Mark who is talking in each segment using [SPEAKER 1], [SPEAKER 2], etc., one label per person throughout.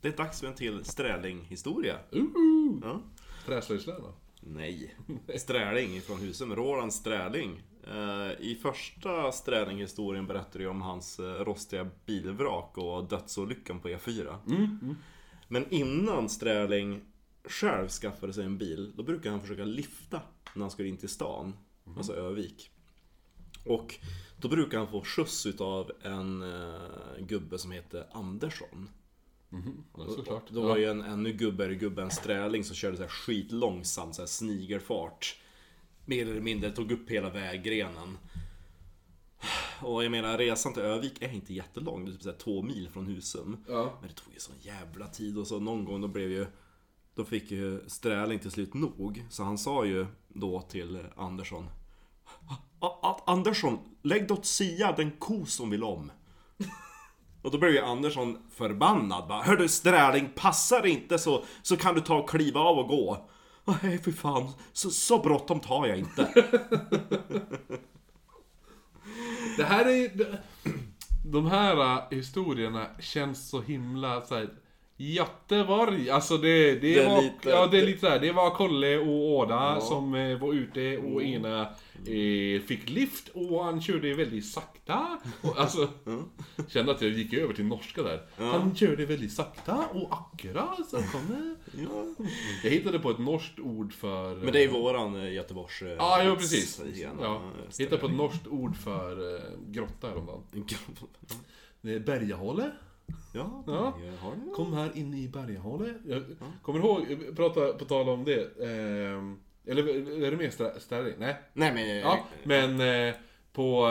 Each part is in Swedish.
[SPEAKER 1] Det är dags för en till strälinghistoria.
[SPEAKER 2] Uh,
[SPEAKER 1] Ja.
[SPEAKER 2] Träslöjdslärarna.
[SPEAKER 1] Nej. Sträling från Husum, Roland Sträling. Eh, I första Strälinghistorien berättar jag om hans eh, rostiga bilvrak och dödsolyckan på E4. Men innan Sträling själv skaffade sig en bil, då brukade han försöka lifta när han skulle in till stan, alltså Övik. Och då brukade han få skjuts utav en eh, gubbe som hette Andersson.
[SPEAKER 2] Ja, såklart.
[SPEAKER 1] Då var ju en ännu gubbigare gubbe än Sträling som körde så här skitlångsamt, så här snigelfart. Mer eller mindre tog upp hela väggrenen. Och jag menar, resan till Övik är inte jättelång, det är typ så här två mil från Husum.
[SPEAKER 2] Ja.
[SPEAKER 1] Men det tog ju sån jävla tid och så någon gång då blev ju... Då fick ju Sträling till slut nog. Så han sa ju då till Andersson "A- A- Andersson, lägg dig åt sidan den ko som vill om. Och då blev ju Andersson förbannad bara. Hör du Sträling, passar det inte så, så kan du ta och kliva av och gå. "Åh, Nej för fan, så, så bråttom tar jag inte.
[SPEAKER 2] Det här är ju- det- De här äh, historierna känns så himla såhär... Göteborg, alltså det, det,
[SPEAKER 1] Det är
[SPEAKER 2] var,
[SPEAKER 1] lite-
[SPEAKER 2] ja, det är lite såhär, det var Kolle och Åda som eh, var ute och
[SPEAKER 1] Mm.
[SPEAKER 2] ena eh, fick lift och han körde väldigt sakta. Och, alltså,
[SPEAKER 1] Mm.
[SPEAKER 2] Kände att jag gick över till norska där. Han körde väldigt sakta och akra, så kom det. Jag hittade på ett norskt ord för...
[SPEAKER 1] Mm. Men det är ju våran eh, Göteborgs... eh,
[SPEAKER 2] Ja, jo precis.
[SPEAKER 1] scen.
[SPEAKER 2] Ja.
[SPEAKER 1] Sträling.
[SPEAKER 2] Hittade på ett norskt ord för eh, grotta häromdagen. Det är Bergahåle.
[SPEAKER 1] Ja,
[SPEAKER 2] Ja.
[SPEAKER 1] det har ni.
[SPEAKER 2] Kom här in i Bergahåle. Jag kommer ihåg, eh, prata på tal om det. Eh, eller är det mer Stra- Stärring? Nej.
[SPEAKER 1] Nej men...
[SPEAKER 2] Ja, men eh, på...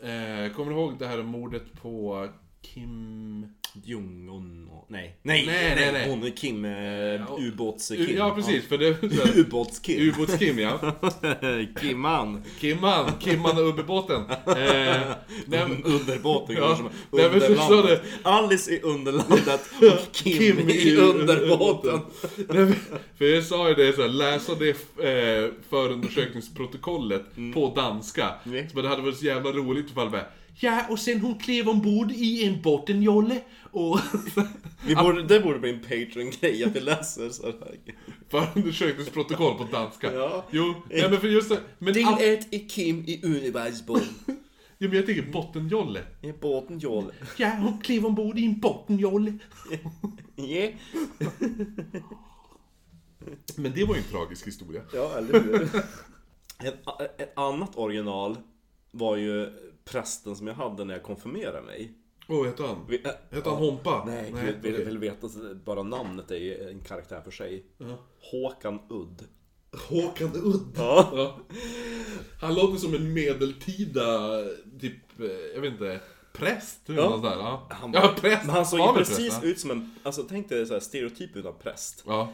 [SPEAKER 2] Eh, kommer du ihåg det här mordet på Kim...
[SPEAKER 1] Jung och... Nej, nej, nej,
[SPEAKER 2] Nej,
[SPEAKER 1] nej,
[SPEAKER 2] nej, nej.
[SPEAKER 1] hon är Kim, eh,
[SPEAKER 2] Ja.
[SPEAKER 1] ubåts-Kim.
[SPEAKER 2] Ja, precis. För det...
[SPEAKER 1] Ja. Ubåts-Kim.
[SPEAKER 2] Ubåts-Kim, ja.
[SPEAKER 1] Kimman.
[SPEAKER 2] Kimman, Kimman och ubåten. Eh, nej, men-
[SPEAKER 1] Underbåten
[SPEAKER 2] Ja.
[SPEAKER 1] går som
[SPEAKER 2] Nej, men förstår
[SPEAKER 1] underlandet.
[SPEAKER 2] du?
[SPEAKER 1] Alice i underlandet och Kim,
[SPEAKER 2] Kim
[SPEAKER 1] i
[SPEAKER 2] i
[SPEAKER 1] underbåten.
[SPEAKER 2] Nej, men- för jag sa ju det så här, läsa det eh, förundersökningsprotokollet på danska.
[SPEAKER 1] Mm.
[SPEAKER 2] Så det hade varit så jävla roligt ifall bara, Ja, och sen hon klev ombord i en bottenjolle och...
[SPEAKER 1] Vi borde, det borde bli en Patreon-grej att vi läser sådär.
[SPEAKER 2] förundersökningsprotokoll på danska.
[SPEAKER 1] Ja.
[SPEAKER 2] Jo, nej, men för just det. Men, all,
[SPEAKER 1] ett i Kim i universum.
[SPEAKER 2] ja, men jag tänker bottenjolle.
[SPEAKER 1] I båten Joel.
[SPEAKER 2] Ja, hon klev ombord i en bottenjolle.
[SPEAKER 1] Yeah.
[SPEAKER 2] Men det var ju en tragisk historia.
[SPEAKER 1] Ja, eller hur? ett, a- ett annat original var ju prästen som jag hade när jag konfirmerade mig.
[SPEAKER 2] Åh, oh, hette han?
[SPEAKER 1] Vi- äh,
[SPEAKER 2] Hette han Hompa?
[SPEAKER 1] Nej, gud, vill, vill veta, så bara namnet är ju en karaktär för sig. Håkan Udd.
[SPEAKER 2] Håkan Udd.
[SPEAKER 1] Ja.
[SPEAKER 2] Ja. Han låter som en medeltida, typ, eh, jag vet inte, präst eller
[SPEAKER 1] Ja.
[SPEAKER 2] något sådär. Ja,
[SPEAKER 1] Han,
[SPEAKER 2] ja präst.
[SPEAKER 1] men han såg
[SPEAKER 2] Var
[SPEAKER 1] ju
[SPEAKER 2] väl
[SPEAKER 1] precis
[SPEAKER 2] präst, va?
[SPEAKER 1] ut som en, alltså tänk dig så här stereotypen av präst.
[SPEAKER 2] Ja.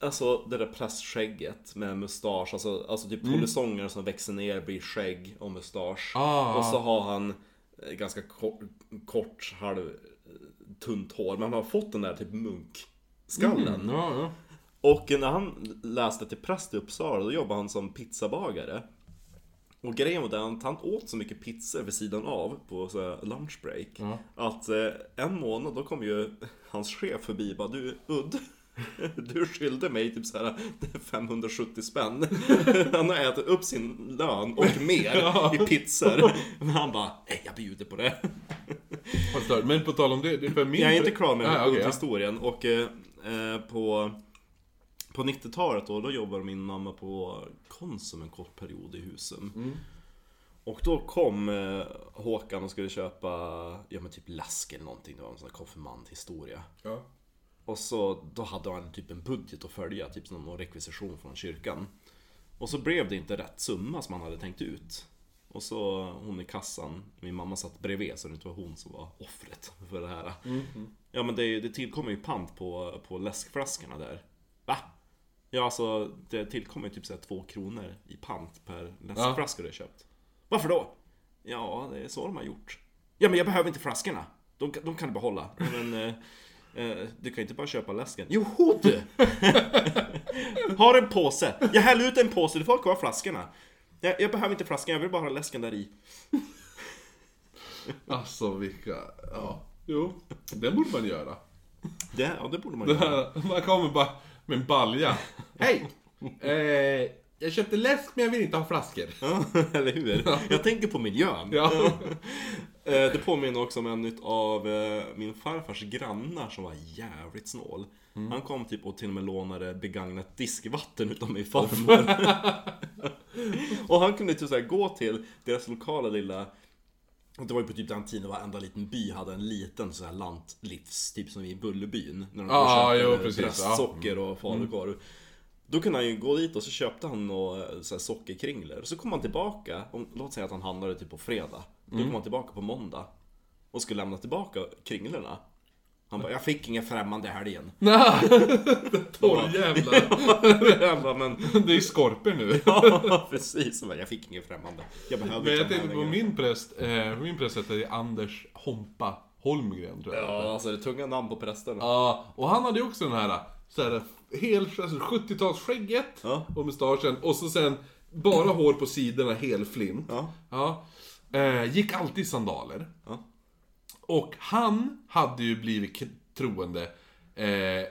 [SPEAKER 1] Alltså det där prästskägget med mustasch, alltså, alltså
[SPEAKER 2] Mm.
[SPEAKER 1] typ polisongare som växer ner, blir skägg och mustasch.
[SPEAKER 2] Ah.
[SPEAKER 1] Och så har han eh, ganska kort, kort halv, eh, tunt hår, men han har fått den där typ munkskallen.
[SPEAKER 2] Mm, ja, ja.
[SPEAKER 1] Och när han läste till präst i Uppsala då jobbade han som pizzabagare. Och grejen var den att han åt så mycket pizzor vid sidan av på så här lunchbreak.
[SPEAKER 2] Ja.
[SPEAKER 1] Att eh, en månad då kom ju hans chef förbi och bara du Udd. Du skyllde mig typ så här 570 spänn. Han har ätit upp sin lön och mer i pizzor. Men han bara, "Nej, jag bjuder på det.
[SPEAKER 2] Vad stört. Men på tal om det, det är för min...
[SPEAKER 1] Jag är inte klar med
[SPEAKER 2] Ah, okej, ja.
[SPEAKER 1] historien och eh, eh, på, på 90-talet då, då jobbade min mamma på Konsum en kort period i Husum.
[SPEAKER 2] Mm.
[SPEAKER 1] Och då kom eh, Håkan och skulle köpa, ja men typ läsk eller någonting, det var en sån här konfirmandhistoria.
[SPEAKER 2] Ja.
[SPEAKER 1] Och så då hade han typ en budget att följa, typ som någon rekvisition från kyrkan. Och så blev det inte rätt summa som han hade tänkt ut. Och så hon i kassan, min mamma satt bredvid så det inte var hon som var offret för det här. Ja men det, är ju- det tillkommer ju pant på, på läskflaskorna där. Va? Ja alltså det tillkommer ju typ så här två kronor i pant per läskflaska du har köpt. Varför då? Ja, det är så de har gjort. Ja, men jag behöver inte flaskorna. De, kan- de kan du behålla. Ja, Men, eh, eh, du kan inte bara köpa läsken. Joho du! Har en påse. Jag häller ut en påse, du får ha kvar flaskorna. Jag, jag behöver inte flaskan, jag vill bara ha läsken där i.
[SPEAKER 2] Alltså vilka... Ja. Jo, det borde man göra.
[SPEAKER 1] Det, ja, det borde man
[SPEAKER 2] Det
[SPEAKER 1] göra.
[SPEAKER 2] här, man kommer bara med en balja. Hej! Eh, jag köpte läsk men jag vill inte ha flaskor.
[SPEAKER 1] Ja, eller hur? Jag tänker på miljön.
[SPEAKER 2] Ja.
[SPEAKER 1] Eh, Det påminner också om en av eh, min farfars grannar som var jävligt snål. Han kom typ och till och med lånade begagnat diskvatten utav mig farmor. och han kunde typ så här gå till deras lokala lilla och det var ju på typ den tiden varenda liten by hade en liten sån här lantlivs, typ som i Bullerbyn. När de
[SPEAKER 2] Ja,
[SPEAKER 1] köpte
[SPEAKER 2] Ah, jo, precis, ja. Mm.
[SPEAKER 1] bröstsocker och falukorv. Då kunde han ju gå dit och så köpte han några så här sockerkringlor. Så kom han tillbaka, om, låt säga att han handlade typ på fredag. Då
[SPEAKER 2] Mm.
[SPEAKER 1] kom han tillbaka på måndag och skulle lämna tillbaka kringlorna. Han bara, jag fick inga främmande i helgen.
[SPEAKER 2] Torr jävlar.
[SPEAKER 1] Jag bara, men
[SPEAKER 2] Det är skorpor nu.
[SPEAKER 1] ja, precis. Han bara, jag fick inget främmande. Jag behöver
[SPEAKER 2] Men jag
[SPEAKER 1] inte
[SPEAKER 2] tänkte
[SPEAKER 1] den här
[SPEAKER 2] på
[SPEAKER 1] längre."
[SPEAKER 2] min präst. Eh, min präst heter Anders Hompa Holmgren tror jag.
[SPEAKER 1] Ja, alltså det är tunga namn på prästerna.
[SPEAKER 2] Ja, och han hade ju också den här, så här hel, alltså 70-talsskägget
[SPEAKER 1] Ja.
[SPEAKER 2] och mustaschen och så sen bara hår på sidorna, hel flint.
[SPEAKER 1] Ja.
[SPEAKER 2] Ja. Eh, gick alltid i sandaler.
[SPEAKER 1] Ja.
[SPEAKER 2] Och han hade ju blivit k- troende eh,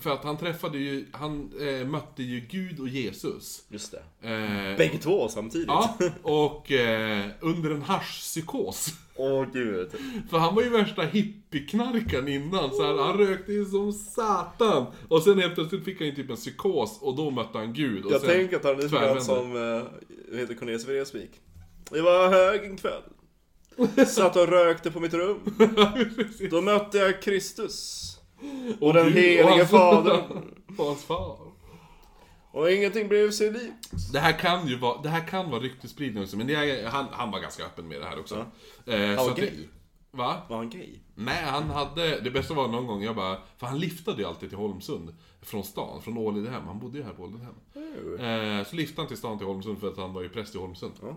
[SPEAKER 2] för att han träffade ju, han eh, mötte ju Gud och Jesus.
[SPEAKER 1] Just det.
[SPEAKER 2] Eh,
[SPEAKER 1] Bägge två samtidigt.
[SPEAKER 2] ja, och eh, under en haschpsykos.
[SPEAKER 1] Åh gud.
[SPEAKER 2] För han var ju värsta hippieknarkaren innan, så här, han rökte ju som satan. Och sen helt plötsligt fick han ju typ en psykos och då mötte han Gud. Och
[SPEAKER 1] Jag
[SPEAKER 2] sen,
[SPEAKER 1] tänker att han är lite grann
[SPEAKER 2] tvärvände.
[SPEAKER 1] som eh, heter Cornelius Vreeswijk. Det var hög en kväll. Satt och rökte på mitt rum. Då mötte jag Kristus. Och den
[SPEAKER 2] Gud
[SPEAKER 1] helige
[SPEAKER 2] hans-
[SPEAKER 1] fadern.
[SPEAKER 2] och hans far.
[SPEAKER 1] Och ingenting blev sig likt.
[SPEAKER 2] Det här kan ju vara, det här kan vara ryktesspridning också, men det är, han, han var ganska öppen med det här också. Eh,
[SPEAKER 1] Han
[SPEAKER 2] så
[SPEAKER 1] var
[SPEAKER 2] att det-
[SPEAKER 1] gay.
[SPEAKER 2] Va?
[SPEAKER 1] Var han gay?
[SPEAKER 2] Nej, han hade, det bästa var någon gång jag bara, för han liftade ju alltid till Holmsund från stan, från Ålidehem, han bodde ju här på Ålidehem. Eh, så liftade han till stan till Holmsund för att han var ju präst i Holmsund.
[SPEAKER 1] Ja.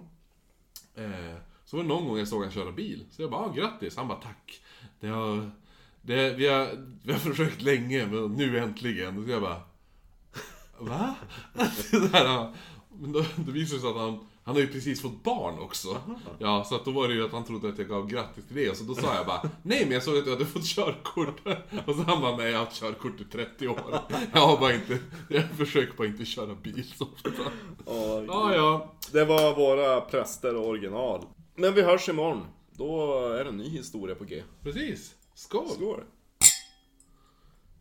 [SPEAKER 2] Eh, så var det någon gång jag såg han köra bil, så jag bara, ah, grattis, han bara tack. Det har, det, vi, har, vi har försökt länge men nu äntligen. Så jag bara, va? så här, ja. men då, då visade det sig att han, han har ju precis fått barn också. Ja, så att då var det ju att han trodde att jag gav grattis till det. Och så då sa jag bara, nej men jag såg att du hade fått körkort. Och så han bara, nej jag har haft körkort i 30 år. Jag har bara inte, jag försöker bara inte köra bil så ofta.
[SPEAKER 1] Åh, gud.
[SPEAKER 2] Ja, ja.
[SPEAKER 1] Det var våra präster och original. Men vi hörs imorgon. Då är det en ny historia på G.
[SPEAKER 2] Precis. Skål.
[SPEAKER 1] Skål!